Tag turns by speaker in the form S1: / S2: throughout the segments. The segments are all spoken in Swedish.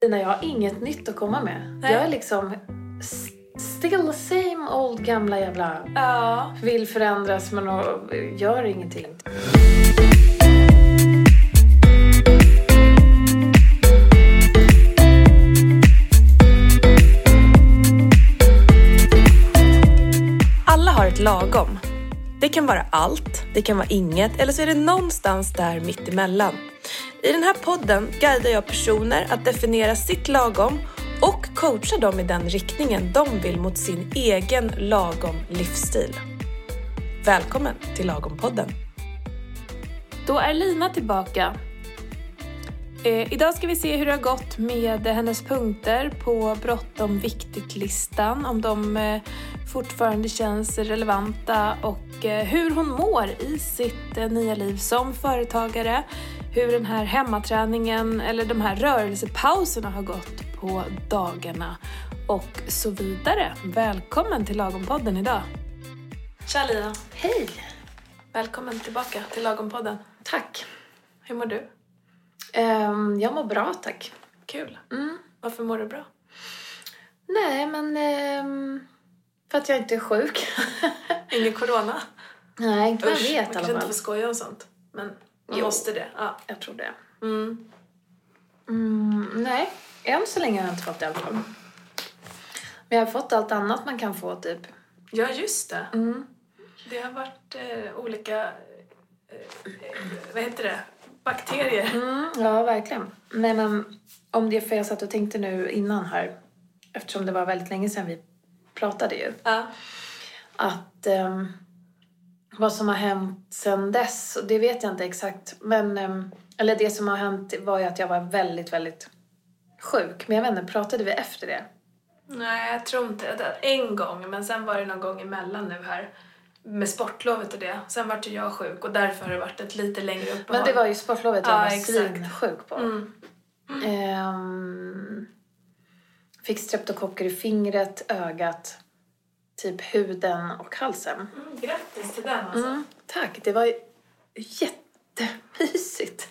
S1: Tina, jag har inget nytt att komma med.
S2: Nej.
S1: Jag är liksom s- still same old gamla jävla...
S2: Ja.
S1: Vill förändras men och- gör ingenting.
S2: Alla har ett lagom. Det kan vara allt, det kan vara inget eller så är det någonstans där mittemellan. I den här podden guidar jag personer att definiera sitt lagom och coachar dem i den riktningen de vill mot sin egen lagom livsstil. Välkommen till Lagom-podden! Då är Lina tillbaka. Eh, idag ska vi se hur det har gått med eh, hennes punkter på bråttom viktigt-listan. Om de eh, fortfarande känns relevanta och eh, hur hon mår i sitt eh, nya liv som företagare. Hur den här hemmaträningen eller de här rörelsepauserna har gått på dagarna och så vidare. Välkommen till Lagom-podden idag. Tja Lina!
S1: Hej!
S2: Välkommen tillbaka till Lagom-podden.
S1: Tack.
S2: Hur mår du?
S1: Ehm, jag mår bra, tack.
S2: Kul!
S1: Mm.
S2: Varför mår du bra?
S1: Nej, men... ehm, för att jag inte är sjuk.
S2: Ingen corona?
S1: Nej, inte vad jag vet i
S2: man kan
S1: alla
S2: inte
S1: fall.
S2: få skoja om sånt. Men man
S1: Jo.
S2: måste det. Ja.
S1: Jag tror det.
S2: Mm.
S1: Mm, nej, än så länge har jag inte fått det i alla fall. Men jag har fått allt annat man kan få, typ.
S2: ja, just det.
S1: Mm.
S2: Det har varit eh, olika... Eh, eh, vad heter det? Bakterier.
S1: Mm, ja, verkligen. Nej, men om det, för jag satt och tänkte nu innan här, eftersom det var väldigt länge sedan vi pratade ju,
S2: Ja.
S1: att ehm, vad som har hänt sedan dess, och det vet jag inte exakt, men ehm, eller det som har hänt var ju att jag var väldigt, väldigt sjuk. Men jag vet inte, pratade vi efter det?
S2: Nej, jag tror inte det. En gång, men sen var det någon gång emellan nu här. Med sportlovet och det. Sen vart ju jag sjuk och därför har det varit ett lite längre uppehåll.
S1: Men det var ju sportlovet jag
S2: Ja,
S1: var
S2: exakt.
S1: svinsjuk på.
S2: Mm.
S1: Ehm, fick streptokocker i fingret, ögat, typ huden och halsen.
S2: Mm, grattis till den alltså.
S1: Mm. Tack, det var ju jättemysigt.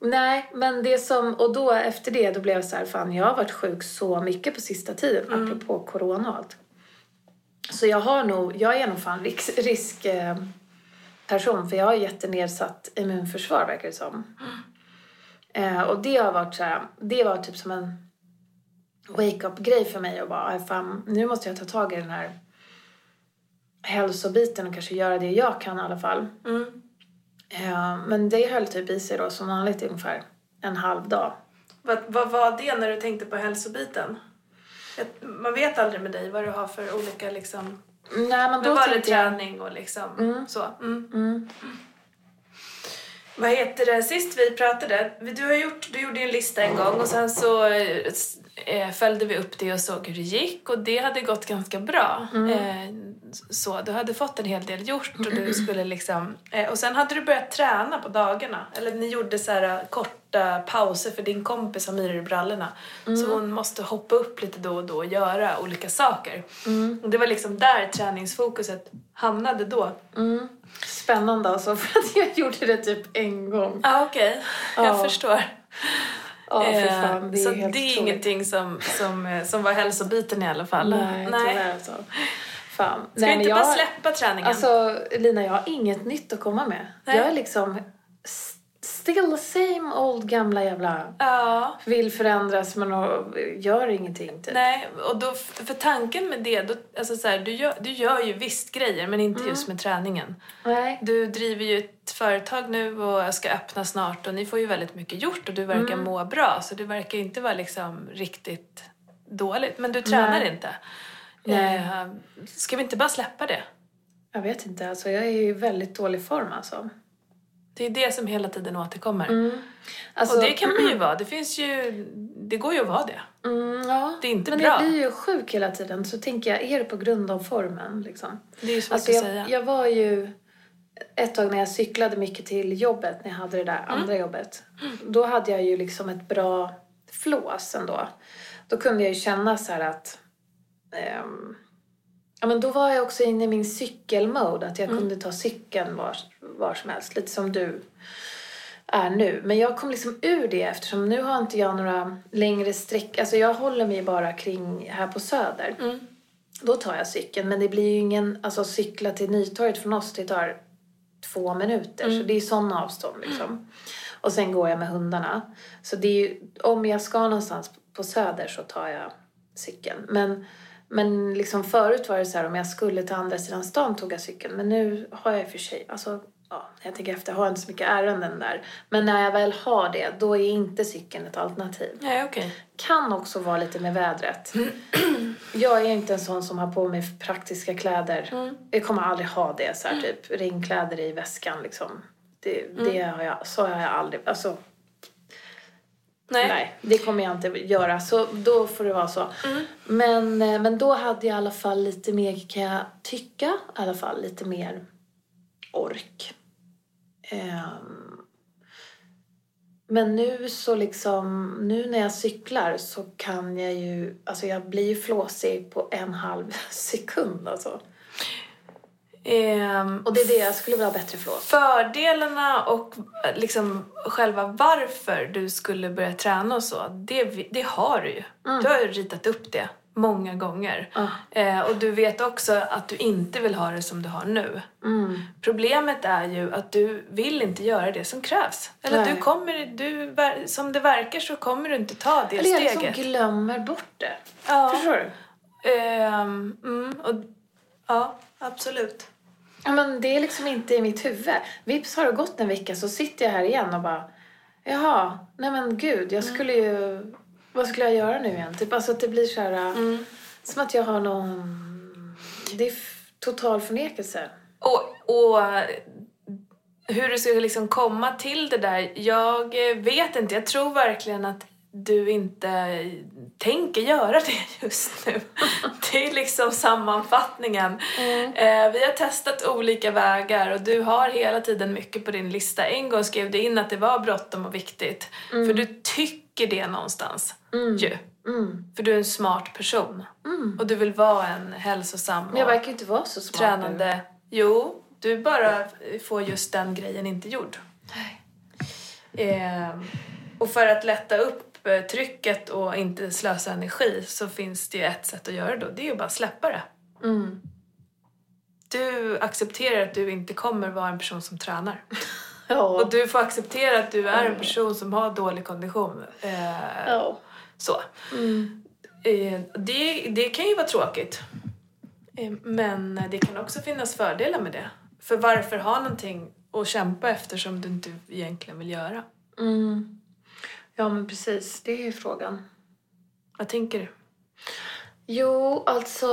S1: Nej, men det som... Och då efter det, då blev jag så här, fan jag har varit sjuk så mycket på sista tiden, apropå corona och allt. Så jag har nog, jag är nog fan risk, risk eh, person för jag har jättenedsatt immunförsvar verkar det som. Eh, och det har varit så här, det var typ som en wake-up-grej för mig och bara, "Aj, fan, nu måste jag ta tag i den här hälsobiten och kanske göra det jag kan i alla fall.
S2: Mm.
S1: Eh, men det höll typ i sig då som vanligt i ungefär en halv dag.
S2: Vad, vad var det när du tänkte på hälsobiten? Ett- Man vet aldrig med dig vad du har för olika liksom,
S1: Nej, men
S2: Men
S1: då
S2: var det
S1: tänkte jag...
S2: träning och liksom
S1: Mm.
S2: så? Mm.
S1: Mm.
S2: Vad heter det, sist vi pratade, du, har gjort, du gjorde ju en lista en gång och sen så eh, s- eh, följde vi upp det och såg hur det gick och det hade gått ganska bra. Eh, så, du hade fått en hel del gjort och du skulle liksom... Eh, och sen hade du börjat träna på dagarna, eller ni gjorde så här eh, korta pauser för din kompis har myror i brallorna. Så hon måste hoppa upp lite då och då och göra olika saker.
S1: Mm.
S2: Och Det var liksom där träningsfokuset hamnade då.
S1: Mm. Spännande alltså, för att jag gjorde det typ en gång.
S2: Ja, okej. Jag
S1: Ja.
S2: förstår.
S1: Ja, fy
S2: Eh,
S1: fan, det är
S2: så
S1: ju helt
S2: det är
S1: otroligt.
S2: ingenting som, som, eh, som var hälsobiten i alla fall.
S1: Nej,
S2: Nej.
S1: tyvärr alltså. Fan.
S2: Ska vi
S1: men
S2: inte
S1: jag...
S2: bara släppa träningen?
S1: Alltså, Lina, jag har inget nytt att komma med.
S2: Nej.
S1: Jag är liksom s- still same old gamla jävla...
S2: Ja.
S1: Vill förändras men och gör ingenting typ.
S2: Nej, och då, för tanken med det, då, alltså så här, du, gör, du gör ju visst grejer men inte just
S1: Mm.
S2: med träningen.
S1: Nej.
S2: Du driver ju ett företag nu och ska öppna snart och ni får ju väldigt mycket gjort och du verkar
S1: Mm.
S2: må bra så det verkar ju inte vara liksom riktigt dåligt. Men du tränar
S1: Nej.
S2: inte.
S1: Nej.
S2: Eh, ska vi inte bara släppa det?
S1: Jag vet inte, alltså jag är ju i väldigt dålig form alltså.
S2: Det är det som hela tiden återkommer.
S1: alltså
S2: och det kan man ju vara. Det finns ju... Det går ju att vara det.
S1: mm, ja.
S2: Det är inte
S1: Men
S2: bra.
S1: jag blir ju sjuk hela tiden så tänker jag, är det på grund av formen liksom?
S2: Det är ju svårt
S1: Alltså
S2: att
S1: jag,
S2: säga.
S1: jag var ju ett tag när jag cyklade mycket till jobbet, när jag hade det
S2: Mm.
S1: där andra jobbet. Då hade jag ju liksom ett bra flås ändå. Då kunde jag ju känna så här att... ehm, ja men då var jag också inne i min
S2: Mm.
S1: cykelmode, att jag kunde ta cykeln var, var som helst. Lite som du. är nu. Men jag kom liksom ur det eftersom nu har inte jag några längre sträck... Alltså jag håller mig bara kring här på Söder.
S2: Mm.
S1: Då tar jag cykeln. Men det blir ju ingen... Alltså cykla till Nytorget från oss, det tar två minuter. Så det är sådana avstånd liksom. Och sen går jag med hundarna. Så det är ju, om jag ska någonstans på Söder så tar jag cykeln. Men, men liksom förut var det så här om jag skulle till andra sidan stan tog jag cykeln. Men nu har jag i och för sig, alltså ja, jag tänker efter, jag har inte så mycket ärenden där. Men när jag väl har det, då är inte cykeln ett alternativ.
S2: Nej, okej.
S1: Kan också vara lite med vädret. Jag är inte en sån som har på mig praktiska kläder. Jag kommer aldrig ha det så här typ regnkläder i väskan liksom. Det, det har jag, så har jag aldrig, alltså
S2: Nej.
S1: Nej. det kommer jag inte göra. Så då får det vara så.
S2: Mm.
S1: Men, eh, men då hade jag i alla fall lite mer, kan jag tycka, i alla fall lite mer ork. Ehm, men nu så liksom, nu när jag cyklar så kan jag ju, alltså jag blir ju flåsig på en halv sekund alltså.
S2: Ehm,
S1: Och det är det, jag skulle vilja ha bättre flås.
S2: fördelarna och eh, liksom själva varför du skulle börja träna och så, det, vi- det har du ju.
S1: Mm.
S2: Du har ju ritat upp det många gånger.
S1: Ah.
S2: Eh, och du vet också att du inte vill ha det som du har nu. Problemet är ju att du vill inte göra det som krävs. Eller att
S1: Nej.
S2: du kommer, du, ver- som det verkar så kommer du inte ta det
S1: Eller jag
S2: steget.
S1: liksom glömmer bort det.
S2: ja.
S1: Förstår du?
S2: Ehm, mm, och, ja, absolut.
S1: Ja, men det är liksom inte i mitt huvud. Vips har det gått en vecka så sitter jag här igen och bara Jaha, nej men gud, jag skulle ju... Vad skulle jag göra nu igen? Typ, alltså att det blir så här... äh, Som att jag har någon... Det är f- total förnekelse.
S2: Och, och hur du ska liksom komma till det där, jag eh, vet inte. Jag tror verkligen att du inte tänker göra det just nu. Det är liksom sammanfattningen.
S1: Mm.
S2: Eh, vi har testat olika vägar och du har hela tiden mycket på din lista. En gång skrev du in att det var bråttom och viktigt. För du tycker det någonstans ju.
S1: Mm.
S2: För du är en smart person. Och du vill vara en hälsosam
S1: Men jag
S2: och-
S1: verkar ju inte vara så smart nu.
S2: tränande. Jo, du bara får just den grejen inte gjord. Eh, och för att lätta upp eh, trycket och inte slösa energi så finns det ju ett sätt att göra då. Det är ju bara att släppa det.
S1: Mm.
S2: Du accepterar att du inte kommer vara en person som tränar.
S1: Ja.
S2: Och du får acceptera att du
S1: Mm.
S2: är en person som har dålig kondition. Eh,
S1: ja. Mm.
S2: så. Eh, det, det kan ju vara tråkigt. Eh, men det kan också finnas fördelar med det. För varför ha någonting att kämpa efter som du inte egentligen vill göra?
S1: Mm. Ja, men precis. Det är ju frågan.
S2: Vad tänker du?
S1: Jo, alltså...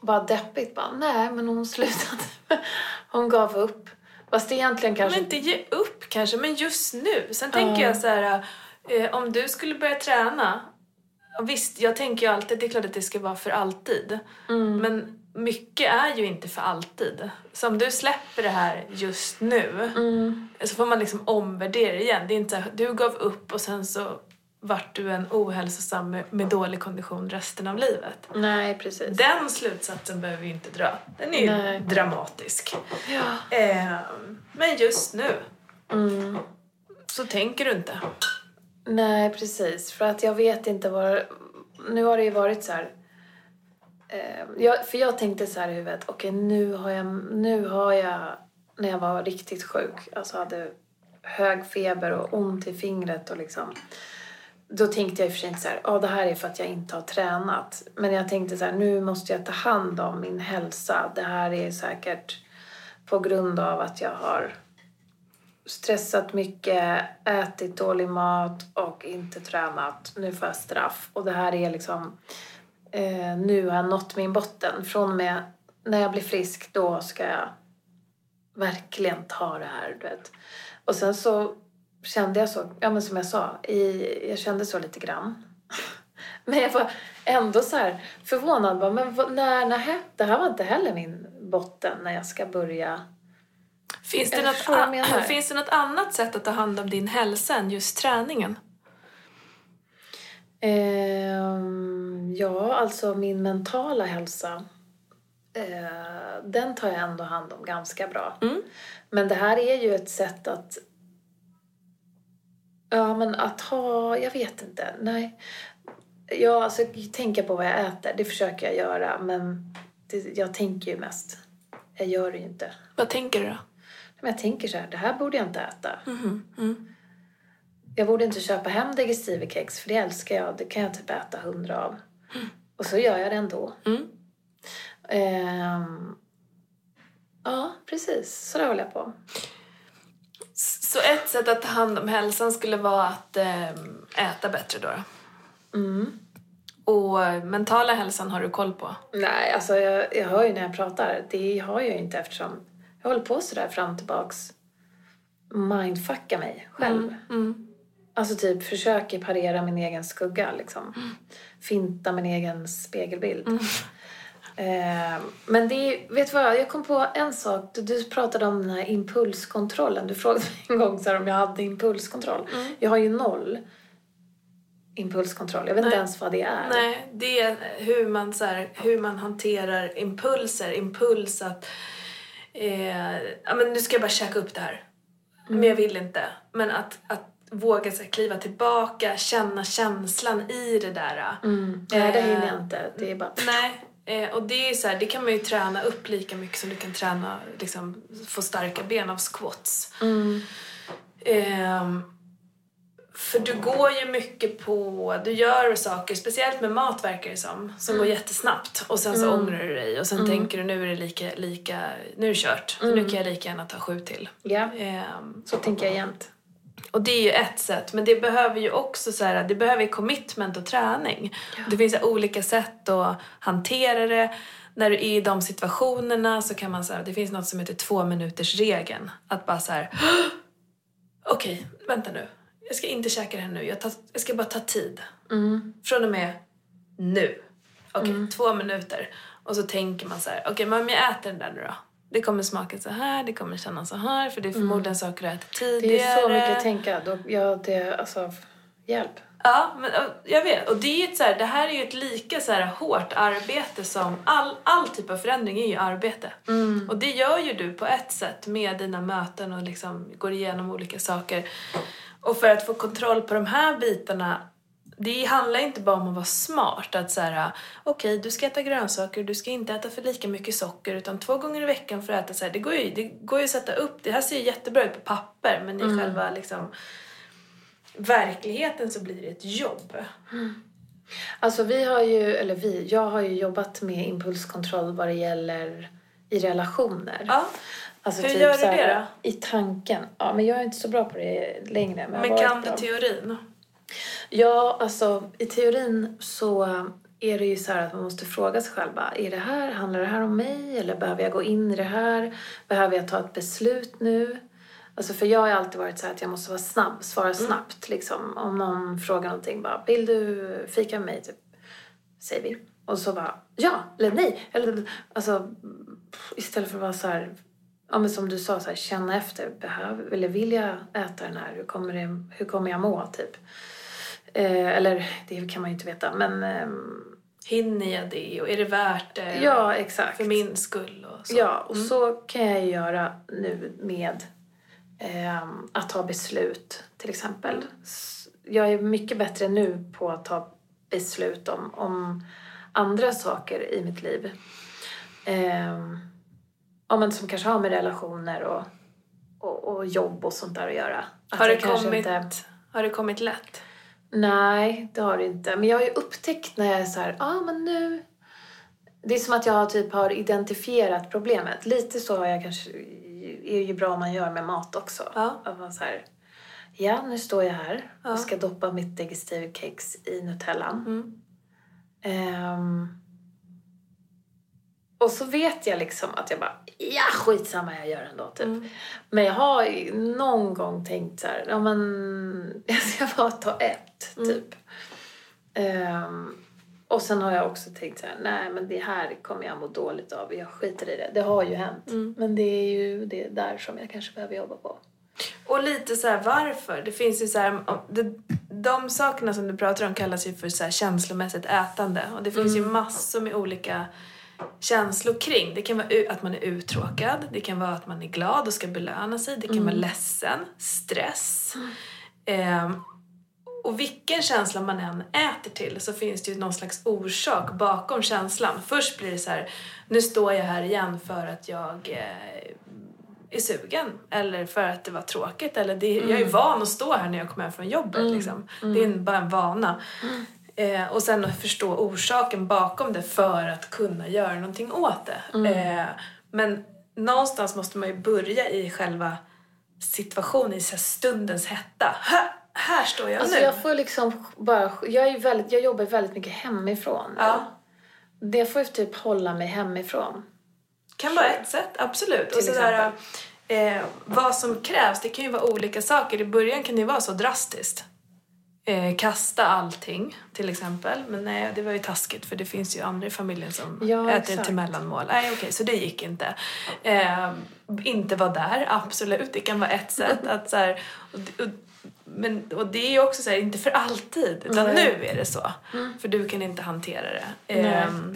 S1: Bara deppigt. Bara, nej, men hon slutade. hon gav upp. Fast det egentligen kanske...
S2: Men inte ge upp kanske, men just nu. Sen tänker
S1: Ja.
S2: jag så här, eh, om du skulle börja träna. ja, Visst, jag tänker ju alltid, det är klart att det ska vara för alltid.
S1: Mm.
S2: Men mycket är ju inte för alltid. Så om du släpper det här just nu.
S1: Mm.
S2: Så får man liksom omvärdera igen. Det är inte så här, du gav upp och sen så vart du en ohälsosam med, med dålig kondition resten av livet.
S1: Nej, precis.
S2: Den slutsatsen behöver vi inte dra. Den är ju
S1: Nej.
S2: dramatisk.
S1: Ja.
S2: Ehm, men just nu
S1: Mm.
S2: så tänker du inte.
S1: Nej, precis. För att jag vet inte var... Nu har det ju varit så här... Eh, jag, för jag tänkte så här i huvudet, okej nu har jag... Nu har jag... När jag var riktigt sjuk, alltså hade hög feber och ont i fingret och liksom... Då tänkte jag i och för sig inte så här, ja det här är för att jag inte har tränat. Men jag tänkte så här, nu måste jag ta hand om min hälsa. Det här är säkert på grund av att jag har stressat mycket, ätit dålig mat och inte tränat. Nu får jag straff. Och det här är liksom... Eh, nu har jag nått min botten. Från och med när jag blir frisk, då ska jag verkligen ta det här. Du vet. Och sen så kände jag så, ja men som jag sa, i, jag kände så lite grann. Men jag var ändå så här förvånad. Bara, men vad- när, när, det här var inte heller min botten när jag ska börja.
S2: Finns det,
S1: Jag
S2: något,
S1: förstår vad du menar.
S2: a- finns det något annat sätt att ta hand om din hälsa än just träningen?
S1: Ehm, ja, alltså min mentala hälsa. eh, den tar jag ändå hand om ganska bra. Men det här är ju ett sätt att Ja, men att ha... Jag vet inte. Nej. Ja, alltså tänka på vad jag äter, det försöker jag göra. Men det, jag tänker ju mest. Jag gör det ju inte.
S2: Vad tänker du då?
S1: Men jag tänker så här, det här borde jag inte äta. Jag borde inte köpa hem digestive-kex, för det älskar jag. Det kan jag typ äta hundra av. Och så gör jag det ändå.
S2: Mm.
S1: Ehm, ja, precis. Så där håller jag på.
S2: S- Så ett sätt att ta hand om hälsan skulle vara att ehm, äta bättre då? då.
S1: Mm.
S2: Och eh, mentala hälsan har du koll på?
S1: Nej, alltså jag, jag hör ju när jag pratar. Det har jag ju inte eftersom jag håller på sådär fram och tillbaks. Mindfucka mig själv.
S2: Mm.
S1: Alltså typ försöker parera min egen skugga liksom.
S2: Mm.
S1: Finta min egen spegelbild. Eh, men det är, vet du vad, jag kom på en sak. Du, du pratade om den här impulskontrollen. Du frågade mig en gång så här, om jag hade impulskontroll.
S2: Mm.
S1: Jag har ju noll impulskontroll. Jag vet inte
S2: Nej.
S1: ens vad det är.
S2: Nej, det är hur man, så här, hur man hanterar impulser. Impuls att... Eh, ja, men nu ska jag bara käka upp det här.
S1: Mm.
S2: Men jag vill inte. Men att, att våga så här, kliva tillbaka, känna känslan i det där. eh.
S1: Mm. Nej, det
S2: Eh,
S1: hinner jag inte. Det är bara...
S2: Nej, eh, och det är så här, det kan man ju träna upp lika mycket som du kan träna, liksom, få starka ben av squats.
S1: Mm.
S2: Ehm, för du går ju mycket på, du gör saker, speciellt med mat verkar det som, som går jättesnabbt och sen så ångrar du dig och sen tänker du nu är det lika, lika nu är det kört, nu kan jag lika gärna ta sju till.
S1: Ja,
S2: Ehm,
S1: så tänker jag jämt.
S2: och det är ju ett sätt, men det behöver ju också så här, det behöver ju commitment och träning. Det finns så här olika sätt att hantera det. När du är i de situationerna så kan man säga, det finns något som heter två minuters regeln Att bara så här, okej, vänta nu. Jag ska inte käka det här nu, jag, tar, jag ska bara ta tid.
S1: Mm.
S2: Från och med nu. Okej, två minuter. Och så tänker man så här, okej men om jag äter den där nu då? Det kommer smaka så här, det kommer kännas så här, för det är förmodligen saker du ätit tidigare.
S1: Mm. Det är så
S2: eh,
S1: mycket att tänka. Då, ja, det, alltså, f- hjälp.
S2: Ja, men och, jag vet. Och det, är ju ett, så här, det här är ju ett lika så här, hårt arbete som... All, all typ av förändring är ju arbete. Och det gör ju du på ett sätt med dina möten och liksom går igenom olika saker. Och för att få kontroll på de här bitarna det handlar inte bara om att vara smart. Att så här, okej du ska äta grönsaker, du ska inte äta för lika mycket socker utan två gånger i veckan får du äta så här. Det går ju, det går ju att sätta upp, det här ser ju jättebra ut på papper men i själva liksom verkligheten så blir det ett jobb.
S1: Alltså vi har ju, eller vi, jag har ju jobbat med impulskontroll vad det gäller i relationer.
S2: Ja,
S1: Alltså
S2: Hur gör du
S1: så här,
S2: det
S1: I tanken. Ja, men jag är inte så bra på det längre. Men, jag har
S2: men
S1: varit
S2: kan
S1: bra.
S2: du teorin?
S1: Ja, alltså i teorin så är det ju så här att man måste fråga sig själv. bara, Är det här, handlar det här om mig? Eller behöver jag gå in i det här? Behöver jag ta ett beslut nu? Alltså för jag har ju alltid varit så här att jag måste vara snabb, svara snabbt liksom. Om någon frågar någonting bara, vill du fika med mig? Typ, säger vi. Och så bara, ja eller nej. Eller, alltså pff, istället för att vara så här, ja men som du sa, så här, känna efter. Behöver, eller vill jag äta den här? Hur kommer, det, hur kommer jag må? Typ. Eh, eller det kan man ju inte veta, men... ehm,
S2: Hinner jag det och är det värt det?
S1: ja, exakt.
S2: För min skull Mm. och så.
S1: Ja, och så kan jag ju göra nu med ehm, att ta beslut, till exempel. S- Jag är mycket bättre nu på att ta beslut om, om andra saker i mitt liv. Ehm, ja, men som kanske har med relationer och, och, och jobb och sånt där att göra. Att
S2: Har, det
S1: jag kanske
S2: kommit,
S1: inte-
S2: har det kommit lätt?
S1: Nej, det har det inte. Men jag har ju upptäckt när jag är så här, ja ah, men nu... Det är som att jag har typ har identifierat problemet. Lite så har jag kanske, är ju bra om man gör med mat också.
S2: Ja.
S1: Att man så här, ja nu står jag här
S2: Ja.
S1: och ska doppa mitt digestive kex i Nutellan.
S2: Mm.
S1: Ehm, och så vet jag liksom att jag bara, ja skitsamma jag gör ändå typ.
S2: Mm.
S1: Men jag har ju någon gång tänkt så här, ja men jag ska bara ta ett
S2: Mm.
S1: typ. Ehm, och sen har jag också tänkt så här, nej men det här kommer jag må dåligt av, jag skiter i det. Det har ju hänt.
S2: Mm.
S1: Men det är ju det där som jag kanske behöver jobba på.
S2: Och lite så här varför. Det finns ju så här, de, de sakerna som du pratar om kallas ju för så här känslomässigt ätande. Och det finns ju massor med olika känslor kring. Det kan vara u- att man är uttråkad, det kan vara att man är glad och ska belöna sig, det kan vara ledsen, stress. Ehm, och vilken känsla man än äter till så finns det ju någon slags orsak bakom känslan. Först blir det så här, nu står jag här igen för att jag eh, är sugen eller för att det var tråkigt eller det, jag är van att stå här när jag kommer hem från jobbet liksom. Det är en, bara en vana. Eh, och sen att förstå orsaken bakom det för att kunna göra någonting åt det. Eh, men någonstans måste man ju börja i själva situationen, i så här stundens hetta. Här, här står jag
S1: Alltså
S2: nu.
S1: jag får liksom bara... Jag, är väldigt, jag jobbar väldigt mycket hemifrån. nu.
S2: Ja.
S1: Det får ju typ hålla mig hemifrån.
S2: kan vara ett sätt, absolut. Och
S1: Till
S2: sådär, eh, vad som krävs, det kan ju vara olika saker. I början kan det vara så drastiskt. Eh, kasta allting, till exempel. Men nej, det var ju taskigt för det finns ju andra i familjen som
S1: Ja,
S2: äter
S1: exakt.
S2: till mellanmål. Nej, okej, så det gick inte. Eh, inte vara där, absolut. Det kan vara ett sätt. att så här, och, och, men, och det är ju också så här, inte för alltid, utan
S1: Nej. Mm.
S2: nu är det så. För du kan inte hantera det.
S1: Nej.
S2: Ehm,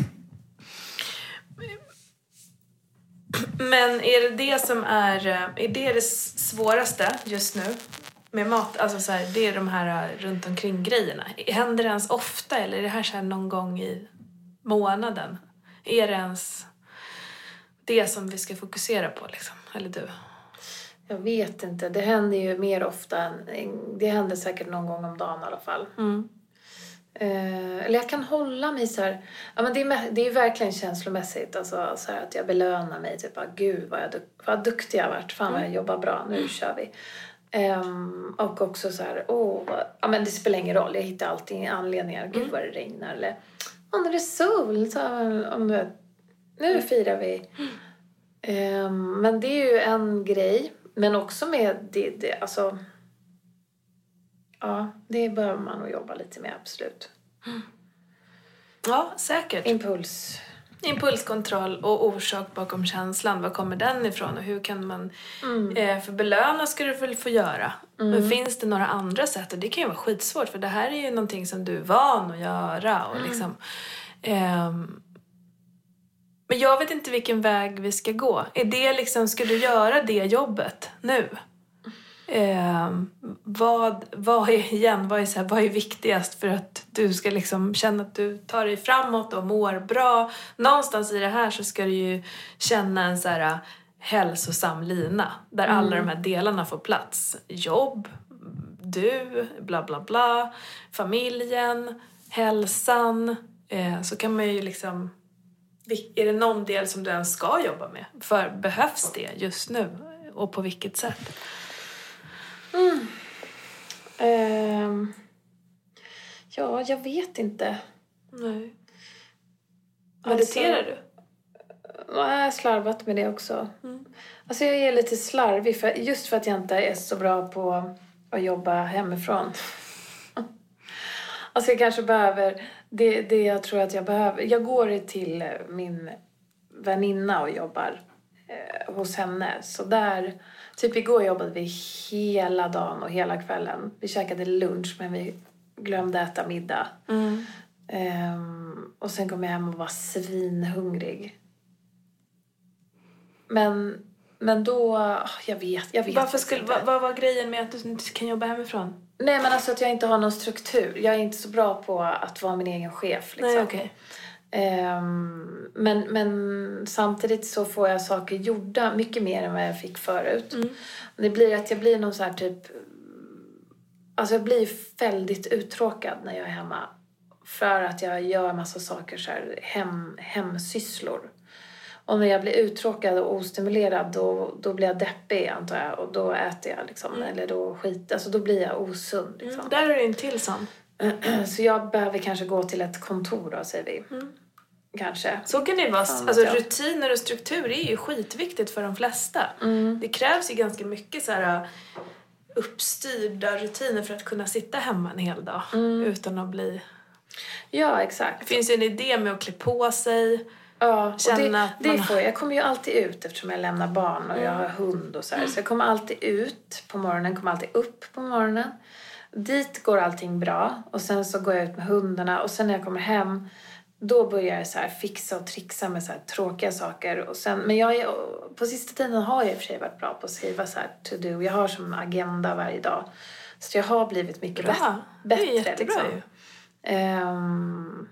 S2: Men är det det som är, eh, är det det s- svåraste just nu? Med mat, alltså så här, det är de här eh, runt omkring grejerna. Händer det ens ofta eller är det här, så här någon gång i månaden? Är det ens det som vi ska fokusera på liksom? Eller du?
S1: Jag vet inte. Det händer ju mer ofta. än- Det händer säkert någon gång om dagen i alla fall. Eh, eller jag kan hålla mig så här. Ja, men det, är, mä- det är ju verkligen känslomässigt. Alltså, så här, att jag belönar mig. Typ, ah, gud vad, jag duk- vad duktig jag har varit. Fan vad jag jobbar bra. Nu kör vi. Ehm, och också så här, åh, vad- ja, men det spelar ingen roll. Jag hittar alltid anledningar. Gud vad det regnar. Eller, åh nu är det sol. Så, här, om du, nu firar vi. Ehm, men det är ju en grej. Men också med det, det alltså. Ja, det behöver man nog jobba lite med, absolut.
S2: Ja, säkert.
S1: Impuls.
S2: Impulskontroll och orsak bakom känslan, var kommer den ifrån och hur kan man... Eh, för belöna ska du väl få göra. Men finns det några andra sätt? Och det kan ju vara skitsvårt för det här är ju någonting som du är van att göra och liksom... ehm, men jag vet inte vilken väg vi ska gå. Är det liksom, ska du göra det jobbet nu? Ehm, vad, vad är igen, vad är, så här, vad är viktigast för att du ska liksom känna att du tar dig framåt och mår bra? Någonstans i det här så ska du ju känna en så här äh, hälsosam lina där alla de här delarna får plats. Jobb, du, bla bla bla, familjen, hälsan. Eh, så kan man ju liksom vil- är det någon del som du ens ska jobba med? För behövs det just nu? Och på vilket sätt?
S1: Ehm, ja, jag vet inte.
S2: Nej.
S1: Alltså-
S2: Mediterar du?
S1: Jag har slarvat med det också. Alltså jag är lite slarvig, för, just för att jag inte är så bra på att jobba hemifrån. alltså jag kanske behöver, det, det jag tror att jag behöver. Jag går till min väninna och jobbar eh, hos henne. Så där, typ igår jobbade vi hela dagen och hela kvällen. Vi käkade lunch men vi glömde äta middag.
S2: Mm.
S1: Ehm, och sen kom jag hem och var svinhungrig. Men, men då... ah, Jag vet, jag vet
S2: Varför
S1: faktiskt
S2: skulle,
S1: inte.
S2: vad, vad var grejen med att du inte kan jobba hemifrån?
S1: Nej men alltså att jag inte har någon struktur. Jag är inte så bra på att vara min egen chef liksom.
S2: Nej, okej.
S1: Ehm, men, men samtidigt så får jag saker gjorda mycket mer än vad jag fick förut. Det blir att jag blir någon så här typ... Alltså jag blir väldigt uttråkad när jag är hemma. För att jag gör en massa saker så här hem, hemsysslor. Och när jag blir uttråkad och ostimulerad då, då blir jag deppig antar jag. Och då äter jag liksom. Eller då skit, alltså då blir jag osund liksom.
S2: Där är du en till sån.
S1: Så jag behöver kanske gå till ett kontor då, säger vi. Kanske.
S2: Så kan det ju vara.
S1: Fan,
S2: Alltså,
S1: ja.
S2: Rutiner och struktur är ju skitviktigt för de flesta. Det krävs ju ganska mycket så här äh, uppstyrda rutiner för att kunna sitta hemma en hel dag utan att bli...
S1: Ja,
S2: Det
S1: exakt.
S2: finns ju en idé med att klä på sig.
S1: Ja, och
S2: Känna
S1: det,
S2: att man
S1: det
S2: har-
S1: får jag. jag kommer ju alltid ut eftersom jag lämnar barn och jag har hund och så här. Så
S2: Mm.
S1: jag kommer alltid ut på morgonen, kommer alltid upp på morgonen. Dit går allting bra och sen så går jag ut med hundarna och sen när jag kommer hem då börjar jag så här fixa och trixa med så här tråkiga saker. Och sen, men jag är, på sista tiden har jag i och för sig varit bra på att skriva så här to do. Jag har som agenda varje dag. Så jag har blivit mycket
S2: Bra.
S1: bättre.
S2: Det är
S1: bättre
S2: jättebra ju.
S1: Ehm,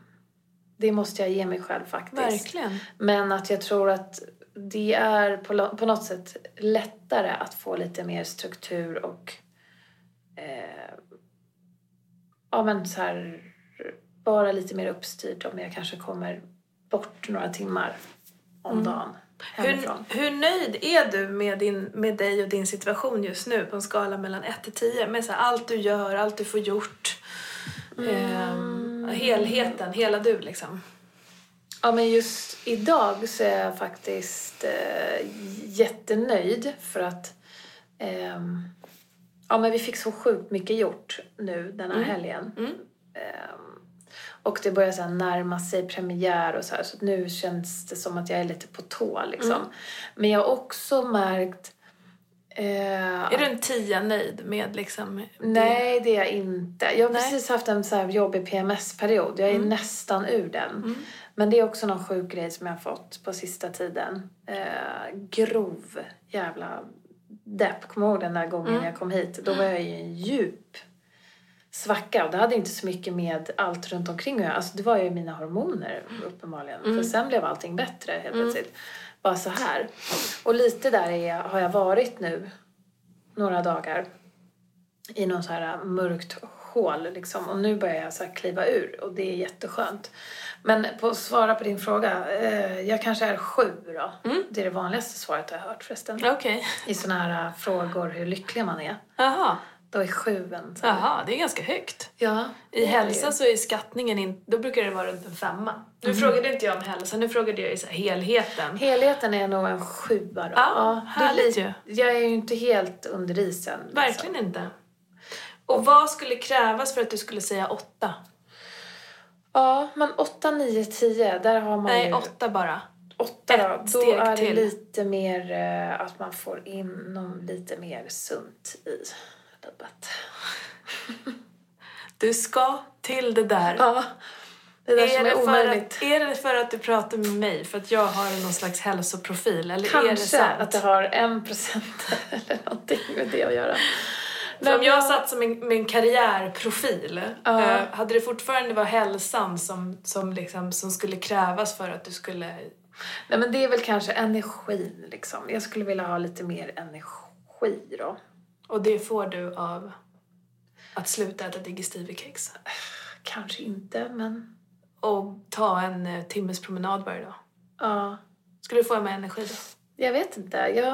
S1: det måste jag ge mig själv faktiskt.
S2: Verkligen.
S1: Men att jag tror att det är på, lo- på något sätt lättare att få lite mer struktur och eh, ja men så här, bara lite mer uppstyrt om jag kanske kommer bort några timmar om dagen
S2: Hur,
S1: hemifrån.
S2: hur nöjd är du med, din, med dig och din situation just nu på en skala mellan 1 till 10? Med så här, allt du gör, allt du får gjort.
S1: Mm.
S2: Ehm, helheten, hela du liksom.
S1: Ja men just idag så är jag faktiskt eh, jättenöjd för att ehm, ja men vi fick så sjukt mycket gjort nu den här helgen.
S2: Mm.
S1: Ehm, och det börjar så här närma sig premiär och så här, så att nu känns det som att jag är lite på tå liksom.
S2: Mm.
S1: Men jag har också märkt... eh,
S2: Är du en 10 nöjd med liksom
S1: Nej, det är jag inte. Jag har
S2: Nej.
S1: precis haft en så här jobbig PMS-period. Jag är nästan ur den. Men det är också någon sjuk grej som jag har fått på sista tiden. Eh, grov jävla depp. Kommer du ihåg den där gången jag kom hit? Då var jag i en djup svacka och det hade inte så mycket med allt runt omkring att göra. Alltså det var ju mina hormoner uppenbarligen.
S2: Mm.
S1: För sen blev allting bättre helt plötsligt. Bara så här. Och lite där är jag, har jag varit nu några dagar i någon så här mörkt hål liksom. Och nu börjar jag så här kliva ur och det är jätteskönt. Men på att svara på din fråga, eh, jag kanske är sju då.
S2: Mm.
S1: Det är det vanligaste svaret jag har hört förresten.
S2: Okej.
S1: I såna här eh, frågor hur lycklig man är.
S2: Jaha.
S1: Då är sju en så här.
S2: Jaha, det är ganska högt.
S1: Ja.
S2: I hälsa så är skattningen in, då brukar det vara runt en femma. Nu
S1: Mm.
S2: frågade inte jag om hälsa, nu frågade jag i så här helheten.
S1: Helheten är nog en sjua då.
S2: Ja,
S1: det är
S2: härligt
S1: li- Jag är ju inte helt under isen. liksom.
S2: Verkligen inte. Och vad skulle krävas för att du skulle säga åtta?
S1: Ja, men åtta, nio, tio. Där har man
S2: Nej,
S1: ju...
S2: åtta bara.
S1: åtta då.
S2: Ett
S1: Då
S2: steg
S1: är det
S2: till.
S1: lite mer eh, att man får in någon lite mer sunt i livet.
S2: Du ska till det där.
S1: Ja, det där som
S2: det
S1: är
S2: för
S1: omöjligt.
S2: att, är det för att du pratar med mig för att jag har någon slags hälsoprofil? Eller är det
S1: Kanske
S2: sant?
S1: att det har en procent eller någonting med det att göra.
S2: För om jag satt som en, med en karriärprofil,
S1: Ja.
S2: eh, hade det fortfarande varit hälsan som, som, liksom, som skulle krävas för att du skulle...
S1: Nej men det är väl kanske energin liksom. Jag skulle vilja ha lite mer energi då.
S2: Och det får du av att sluta äta digestivekex
S1: Kanske inte men
S2: och ta en eh, timmes promenad varje dag.
S1: ja.
S2: Skulle du få mer energi då?
S1: Jag vet inte. Jag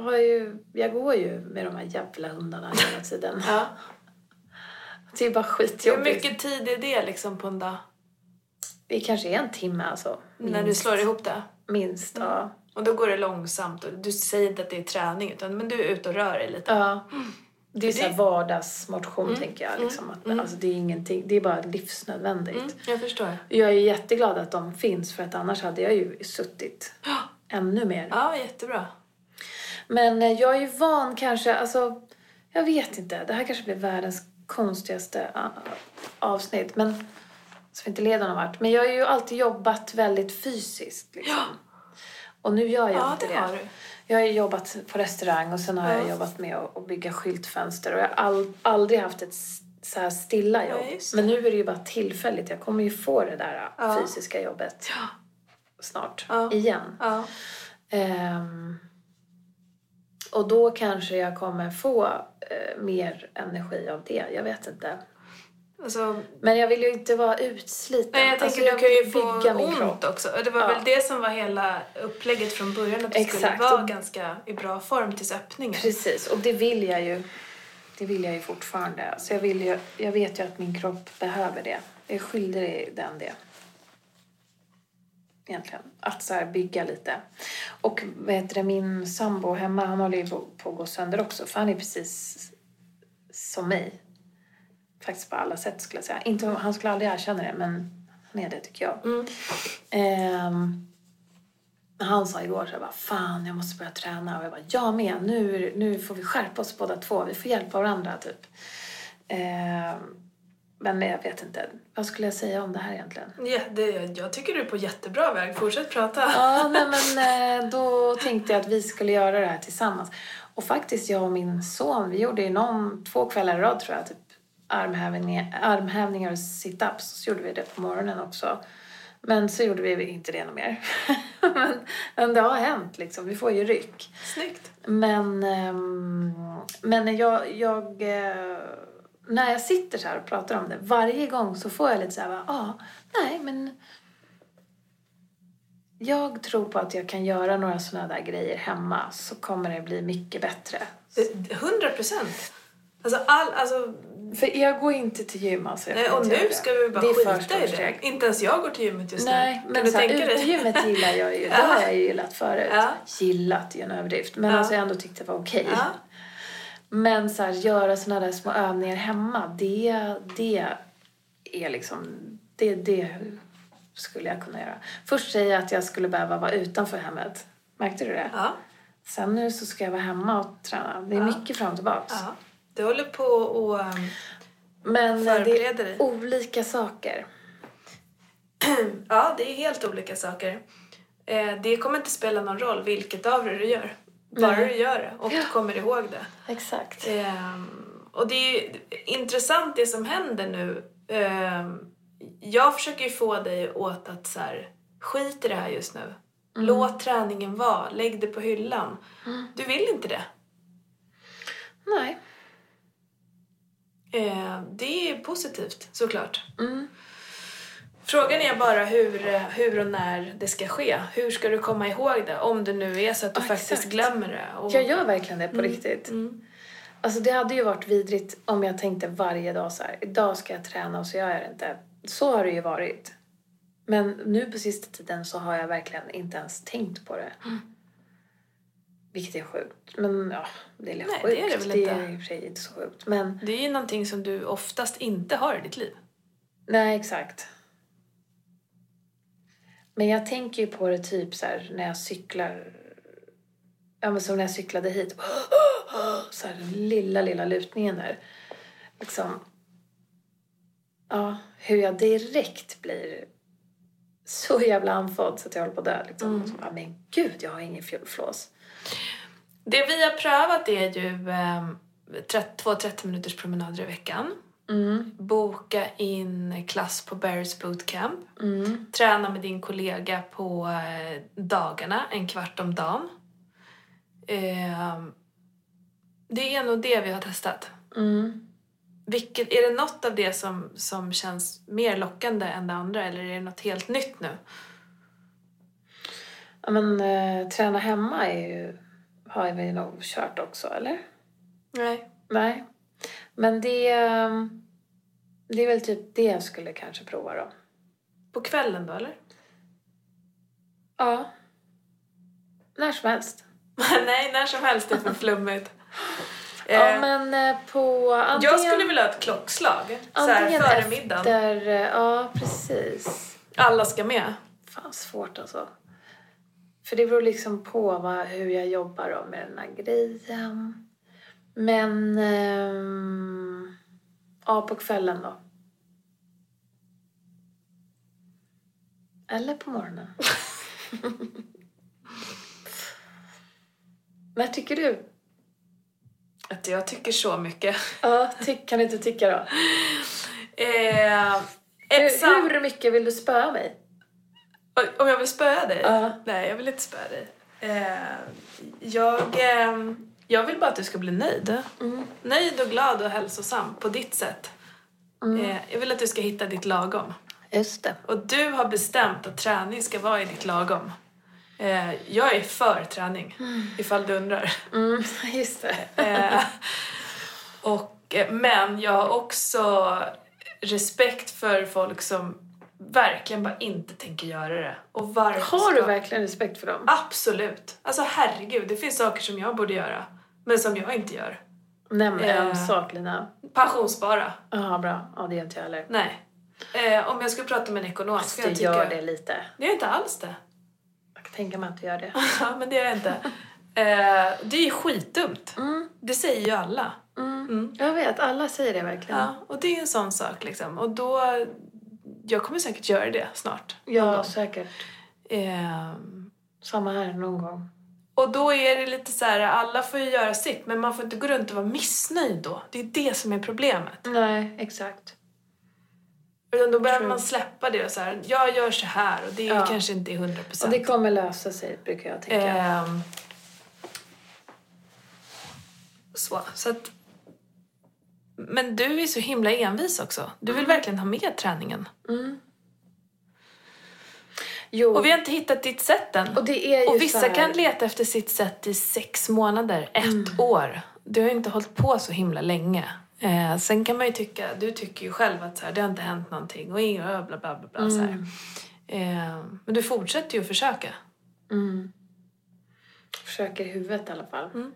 S1: har ju... Jag går ju med de här jävla hundarna hela tiden.
S2: Ja.
S1: Det är bara
S2: Hur
S1: skitjobbigt.
S2: mycket tid är det liksom på en dag?
S1: Det kanske är en timme alltså.
S2: När du slår ihop Mm. det?
S1: Minst, ja.
S2: Och då går det långsamt och du säger inte att det är träning utan men du är ute och rör dig lite.
S1: ja. Det är
S2: Mm. För
S1: så här
S2: det- Mm.
S1: vardagsmotion tänker jag. Liksom, att, alltså, det är ingenting, det är bara livsnödvändigt.
S2: Jag förstår.
S1: Jag är jätteglad att de finns för att annars hade jag ju suttit ännu mer.
S2: Ja, jättebra.
S1: Men eh, jag är ju van kanske, alltså jag vet inte. Det här kanske blir världens konstigaste ah, avsnitt. Men som inte leder någon vart. Men jag har ju alltid jobbat väldigt fysiskt liksom. Och nu gör jag
S2: Ja,
S1: inte
S2: det har du.
S1: Jag har ju jobbat på restaurang och sen har jag jobbat med att att bygga skyltfönster och jag har all, aldrig haft ett s- så här stilla jobb.
S2: Ja, just det.
S1: Men nu är det ju bara tillfälligt. Jag kommer ju få det där eh,
S2: Ja.
S1: fysiska jobbet snart
S2: Ja.
S1: igen.
S2: Ja.
S1: Ehm, och då kanske jag kommer få eh, mer energi av det. Jag vet inte.
S2: Alltså,
S1: Men jag vill ju inte vara utsliten.
S2: nej, jag tänker
S1: Alltså,
S2: du kan ju
S1: vill
S2: få
S1: bygga min
S2: ont
S1: kropp.
S2: också. Och det var
S1: Ja.
S2: väl det som var hela upplägget från början att du
S1: Exakt.
S2: skulle vara ganska i bra form tills öppningen.
S1: Precis, och det vill jag ju. Det vill jag ju fortfarande. Så jag, vill ju, jag vet ju att min kropp behöver det. Jag är skyldig den det. Egentligen. Att så här bygga lite. Och vad heter det, min sambo hemma, han håller ju på på att gå sönder också. För han är precis som mig. Faktiskt på alla sätt skulle jag säga. Inte, han skulle aldrig erkänna det, men han är det tycker jag. Ehm, han sa igår så jag bara, fan jag måste börja träna. Och jag bara, jag med. Nu, nu får vi skärpa oss båda två. Vi får hjälpa varandra typ. Ehm, men jag vet inte. Vad skulle jag säga om det här egentligen?
S2: Ja, det, jag tycker du är på jättebra väg. Fortsätt prata.
S1: Ja, nej men eh, då tänkte jag att vi skulle göra det här tillsammans. Och faktiskt jag och min son, vi gjorde ju någon, två kvällar i rad tror jag, typ armhävningar, armhävningar och situps. Så gjorde vi det på morgonen också. Men så gjorde vi inte det något mer. men, men det har hänt liksom, vi får ju ryck.
S2: Snyggt.
S1: Men, ehm, men jag, jag, eh, när jag sitter så här och pratar om det, varje gång så får jag lite så här, va, ah, nej men jag tror på att jag kan göra några sådana där grejer hemma så kommer det bli mycket bättre.
S2: Det- 100 procent. Alltså, all, alltså,
S1: För jag går inte till gym alltså. jag
S2: nej,
S1: kan
S2: och
S1: inte göra
S2: nu
S1: det.
S2: ska vi bara
S1: Det är
S2: skita i
S1: första
S2: det.
S1: steg.
S2: Inte ens jag går till gymmet just
S1: Nej,
S2: nu.
S1: men så här, utegymmet gillar jag ju. Det
S2: Ja.
S1: har jag ju gillat förut.
S2: Ja.
S1: Gillat är en överdrift. Men
S2: Ja.
S1: alltså jag ändå tyckte det var okej.
S2: ja.
S1: Men så här, göra såna där små övningar hemma, det, det är liksom... Det, det skulle jag kunna göra. Först säger jag att jag skulle behöva vara utanför hemmet. Märkte du det?
S2: Ja.
S1: Sen nu så ska jag vara hemma och träna. Det är
S2: Ja.
S1: mycket fram och tillbaks.
S2: ja. Du håller på och... ehm,
S1: Men eh, det
S2: Förbereder dig.
S1: är olika saker.
S2: Ja, det är helt olika saker. Eh, det kommer inte spela någon roll vilket av det du gör. Bara
S1: Nej.
S2: du gör det och
S1: Ja.
S2: kommer ihåg det.
S1: Exakt.
S2: Ehm, och det är ju intressant det som händer nu. Ehm, jag försöker ju få dig åt att så här, skit i det här just nu.
S1: Mm.
S2: Låt träningen vara, lägg det på hyllan. Du vill inte det.
S1: Nej.
S2: Ehm, det är positivt såklart.
S1: Mm.
S2: Frågan är bara hur, eh, hur och när det ska ske. Hur ska du komma ihåg det? Om det nu är så att du
S1: Ja,
S2: faktiskt
S1: exakt.
S2: glömmer det. Och,
S1: Jag gör verkligen det på riktigt.
S2: Mm.
S1: Alltså det hade ju varit vidrigt om jag tänkte varje dag så här, idag ska jag träna och så gör jag det inte. Så har det ju varit. Men nu på sista tiden så har jag verkligen inte ens tänkt på det.
S2: Mm.
S1: Vilket är sjukt. Men ja, det är lite
S2: Nej,
S1: sjukt.
S2: det är det väl inte.
S1: är i och för sig inte så sjukt. Men
S2: Det är ju någonting som du oftast inte har i ditt liv.
S1: nej, exakt. Men jag tänker ju på det typ så här när jag cyklar. Ja, men som när jag cyklade hit. Så här den lilla, lilla lutningen där. Liksom. Ja, hur jag direkt blir så jävla andfådd så att jag håller på att dö. Liksom. Och Så, bara, men gud, jag har ingen fjol- flås.
S2: Det vi har prövat är ju ehm, trett- två 30 minuters promenader i veckan.
S1: Mm,
S2: Boka in klass på Barry's Bootcamp.
S1: mm,
S2: Träna med din kollega på eh, dagarna, en kvart om dagen. Ehm, det är nog det vi har testat.
S1: mm.
S2: Vilket, är det något av det som, som känns mer lockande än det andra eller är det något helt nytt nu?
S1: Ja, men eh, träna hemma är ju, har vi nog kört också, eller?
S2: Nej.
S1: Nej. Men det... eh, Det är väl typ det jag skulle kanske prova då.
S2: På kvällen då eller?
S1: Ja. När som helst.
S2: Nej, när som helst. Det är för flummigt.
S1: Ja,
S2: Eh,
S1: men eh, på... Antingen,
S2: jag skulle vilja ha ett klockslag. Så här,
S1: antingen
S2: före
S1: efter,
S2: middagen.
S1: eh, Ja, precis.
S2: Alla ska med.
S1: Fan, svårt alltså. För det beror liksom på vad, hur jag jobbar då med den här grejen. Men... ehm, ja, på kvällen då. Eller på morgonen. Vad tycker du?
S2: Att jag tycker så mycket.
S1: Ja, ty- kan du inte tycka då?
S2: Eh, ett sam-
S1: Hur, hur mycket vill du spöa mig?
S2: Oj, Om jag vill spöa dig?
S1: Ja.
S2: Nej, jag vill inte spöa dig. Eh, jag, ehm, jag vill bara att du ska bli nöjd.
S1: Mm.
S2: Nöjd och glad och hälsosam på ditt sätt.
S1: Mm.
S2: Eh, jag vill att du ska hitta ditt lagom.
S1: Just det.
S2: Och du har bestämt att träning ska vara i ditt lagom. Eh, jag är för träning, ifall du undrar.
S1: Mm, just det.
S2: Eh, och, eh, men jag har också respekt för folk som verkligen bara inte tänker göra det. Och varför
S1: Har du
S2: ska-
S1: verkligen respekt för dem?
S2: Absolut. Alltså herregud, det finns saker som jag borde göra, men som jag inte gör.
S1: Nej men
S2: Eh.
S1: en sak Lina.
S2: Pensionsspara?
S1: Ja bra, ja det gör inte jag heller.
S2: Nej. Eh, om jag skulle prata med en ekonom
S1: Fast
S2: skulle
S1: du
S2: jag tycka...
S1: gör det lite.
S2: Det är inte alls det.
S1: Jag kan tänka mig att du gör det.
S2: Ja, men det är jag inte. Eh, det är ju skitdumt.
S1: Mm,
S2: Det säger ju alla.
S1: mm.
S2: Mm.
S1: Jag vet, alla säger det verkligen.
S2: Ja, och det är en sån sak liksom. Och då... Jag kommer säkert göra det snart.
S1: ja säkert.
S2: Eh,
S1: Samma här någon gång.
S2: Och då är det lite så här, alla får ju göra sitt men man får inte gå runt och vara missnöjd då. Det är det som är problemet.
S1: Nej, exakt.
S2: Utan då behöver
S1: True.
S2: man släppa det och så här, jag gör så här och det är
S1: Ja.
S2: kanske inte hundra procent.
S1: Och det kommer lösa sig, brukar jag tänka.
S2: Ehm. Så, så att... Men du är så himla envis också. Du
S1: Mm.
S2: vill verkligen ha med träningen.
S1: Jo,
S2: Och vi har inte hittat ditt sätt än.
S1: och det är ju
S2: Och vissa
S1: så här, Mm.
S2: kan leta efter sitt sätt i sex månader, ett år. Du har ju inte hållit på så himla länge. Eh, sen kan man ju tycka, du tycker ju själv att så här, det har inte hänt någonting och inga bla bla bla bla så här. Eh, men du fortsätter ju att försöka.
S1: Mm. Försöker i huvudet i alla fall.
S2: Mm.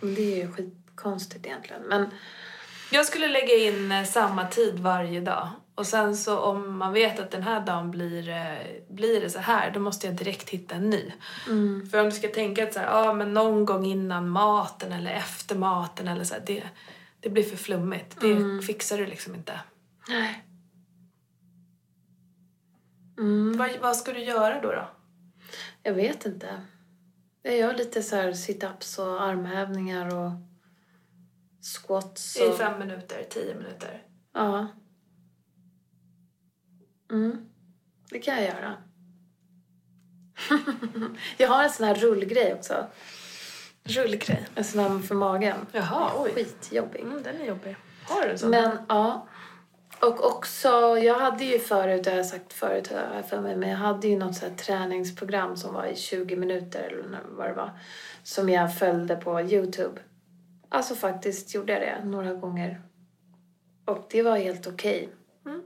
S1: Men Det är ju skitkonstigt egentligen. Men
S2: Jag skulle lägga in eh, samma tid varje dag. Och sen så om man vet att den här dagen blir, eh, blir det så här, då måste jag direkt hitta en ny. För om du ska tänka att så här, ah, men någon gång innan maten eller efter maten eller så här, det, det blir för flummigt. Det fixar du liksom inte.
S1: nej.
S2: Vad, vad ska du göra då? då?
S1: jag vet inte. Jag gör lite så här sit-ups och armhävningar och squats.
S2: I
S1: Och,
S2: fem minuter, tio minuter?
S1: Ja. Mm. Det kan jag göra. jag har en sån här rullgrej också.
S2: Rullgrej.
S1: En sån här för magen.
S2: Jaha, oj.
S1: Skitjobbig.
S2: Mm, den är jobbig. Har du en sån?
S1: Men ja. Och också, jag hade ju förut, det har jag sagt förut har jag för mig, men jag hade ju något så här träningsprogram som var i 20 minuter eller när- vad det var. Som jag följde på Youtube. Alltså faktiskt gjorde jag det några gånger. Och det var helt okej. Mm.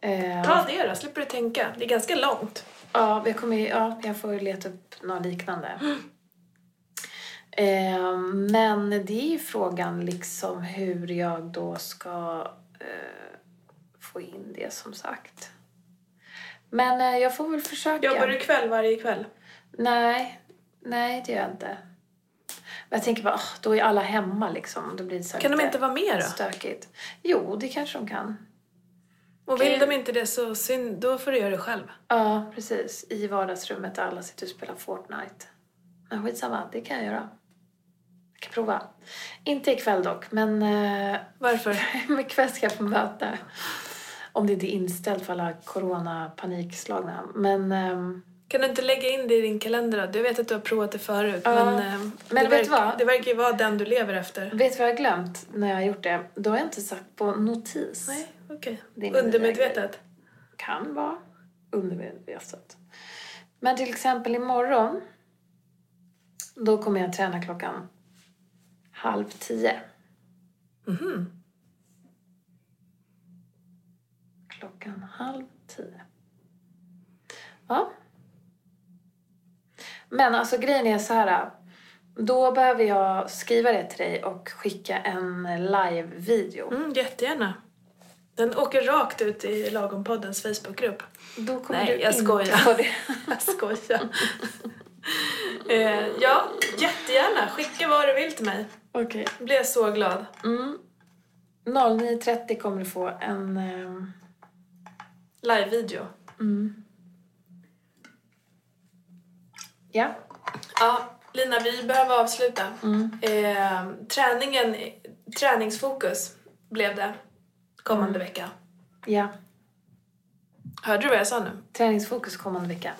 S1: Eh,
S2: Ta det då, slipper du tänka. Det är ganska långt.
S1: Ja, jag, kommer, ju- ja, jag får ju leta upp något liknande. Eh, men det är ju frågan liksom hur jag då ska eh, få in det som sagt. Men eh, jag får väl försöka.
S2: Jobbar du kväll varje kväll?
S1: Nej, nej det gör jag inte. Men jag tänker bara, ah, då är alla hemma liksom. Då blir det så här
S2: Kan de
S1: lite
S2: inte vara med då?
S1: stökigt. Jo, det kanske de kan.
S2: Och vill de inte det så synd, då får du göra det själv.
S1: Ja, precis. I vardagsrummet där alla sitter och spelar Fortnite. Men skitsamma, det kan jag göra. Jag kan prova. Inte ikväll dock, men eh,
S2: Varför?
S1: ikväll ska jag på möte. Om det inte är inställt för alla coronapanikslagna. Men, ehm,
S2: Kan du inte lägga in det i din kalender då? Jag vet att du har provat det förut.
S1: Ja.
S2: Men, eh, det,
S1: vet du
S2: verkar,
S1: vad?
S2: det verkar ju vara den du lever efter.
S1: vet du vad jag har glömt när jag har gjort det? Då har jag inte satt på notis.
S2: Nej, okej.
S1: Det är min
S2: Undermedvetet.
S1: Kan vara undermedvetet. Men till exempel imorgon, då kommer jag träna klockan halv tio.
S2: Mhm.
S1: Klockan halv tio. Ja. Men alltså grejen är så här. Då behöver jag skriva det till dig och skicka en live-video.
S2: Mm, jättegärna. Den åker rakt ut i Lagompoddens Facebookgrupp.
S1: Då kommer
S2: Nej,
S1: du
S2: jag
S1: inte
S2: skojar.
S1: få det.
S2: Jag skojar. eh, ja, jättegärna. Skicka vad du vill till mig.
S1: Okej.
S2: Då blir jag så glad.
S1: Mm. 09.30 kommer du få en... eh,
S2: Live-video.
S1: Mm. Ja.
S2: Ja, Lina, vi behöver avsluta.
S1: Mm.
S2: Eh, träningen, träningsfokus blev det kommande vecka.
S1: Ja.
S2: Hörde du vad jag sa nu?
S1: Träningsfokus kommande vecka.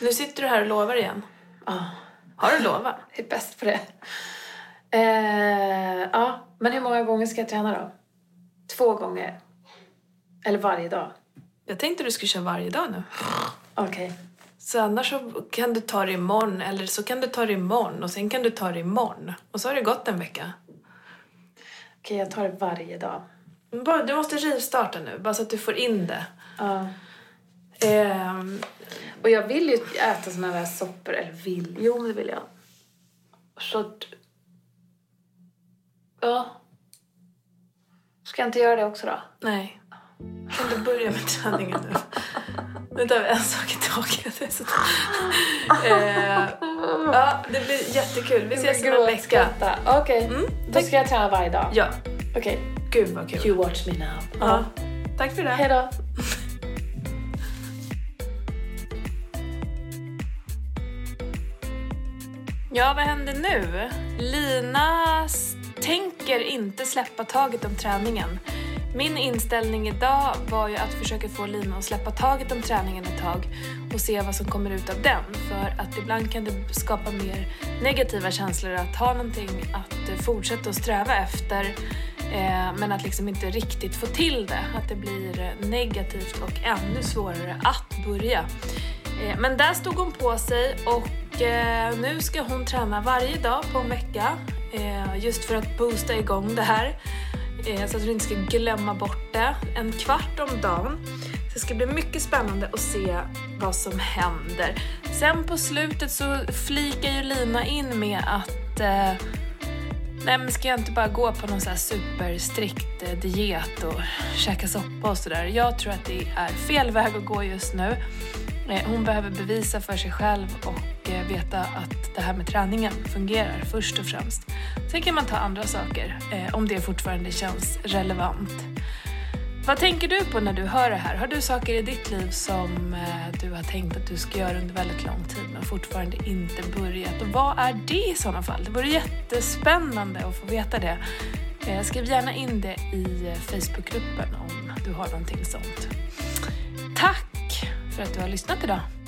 S2: Nu sitter du här och lovar igen.
S1: Ja.
S2: Har du lovat?
S1: Jag är bäst på det. Eh, ja, men hur många gånger ska jag träna då? Två gånger. Eller varje dag.
S2: Jag tänkte du skulle köra varje dag nu.
S1: Okej.
S2: Så annars så kan du ta det imorgon eller så kan du ta det imorgon och sen kan du ta det imorgon. Och så har det gått en vecka.
S1: Okej, jag tar det varje dag.
S2: Men Bara, du måste rivstarta nu, bara så att du får in det.
S1: Ja.
S2: Ehm,
S1: Och jag vill ju äta såna där soppor. Eller vill. Jo, men det vill jag. Så att... Ja. Ska jag inte göra det också då?
S2: nej. Kan du börja med träningen nu? Nu tar vi en sak i taget. Det är så- Ehm, ja, det blir jättekul. Vi ses om en vecka.
S1: Gråtskratta. Okej. Då ska jag träna varje dag.
S2: Mm, Ja,
S1: Okej.
S2: gud vad kul.
S1: You watch me now.
S2: Ja. Tack för det.
S1: Hej då.
S2: Ja, vad händer nu? Lina s- tänker inte släppa taget om träningen. Min inställning idag var ju att försöka få Lina att släppa taget om träningen ett tag och se vad som kommer ut av den. För att ibland kan det skapa mer negativa känslor att ha någonting att eh, fortsätta att sträva efter eh, men att liksom inte riktigt få till det. Att det blir eh, negativt och ännu svårare att börja. Eh, Men där stod hon på sig och eh, nu ska hon träna varje dag på en vecka eh, just för att boosta igång det här eh, så att hon inte ska glömma bort det. En kvart om dagen. Så det ska bli mycket spännande att se vad som händer. Sen på slutet så flikar ju Lina in med att eh, Nej men ska jag inte bara gå på någon så här superstrikt eh, diet och käka soppa och sådär? Jag tror att det är fel väg att gå just nu. Eh, Hon behöver bevisa för sig själv och eh, veta att det här med träningen fungerar först och främst. Sen kan man ta andra saker eh, om det fortfarande känns relevant. Vad tänker du på när du hör det här? Har du saker i ditt liv som eh, du har tänkt att du ska göra under väldigt lång tid men fortfarande inte börjat? Och vad är det i sådana fall? Det vore jättespännande att få veta det. Eh, Skriv gärna in det i eh, Facebookgruppen om du har någonting sånt. Tack för att du har lyssnat idag.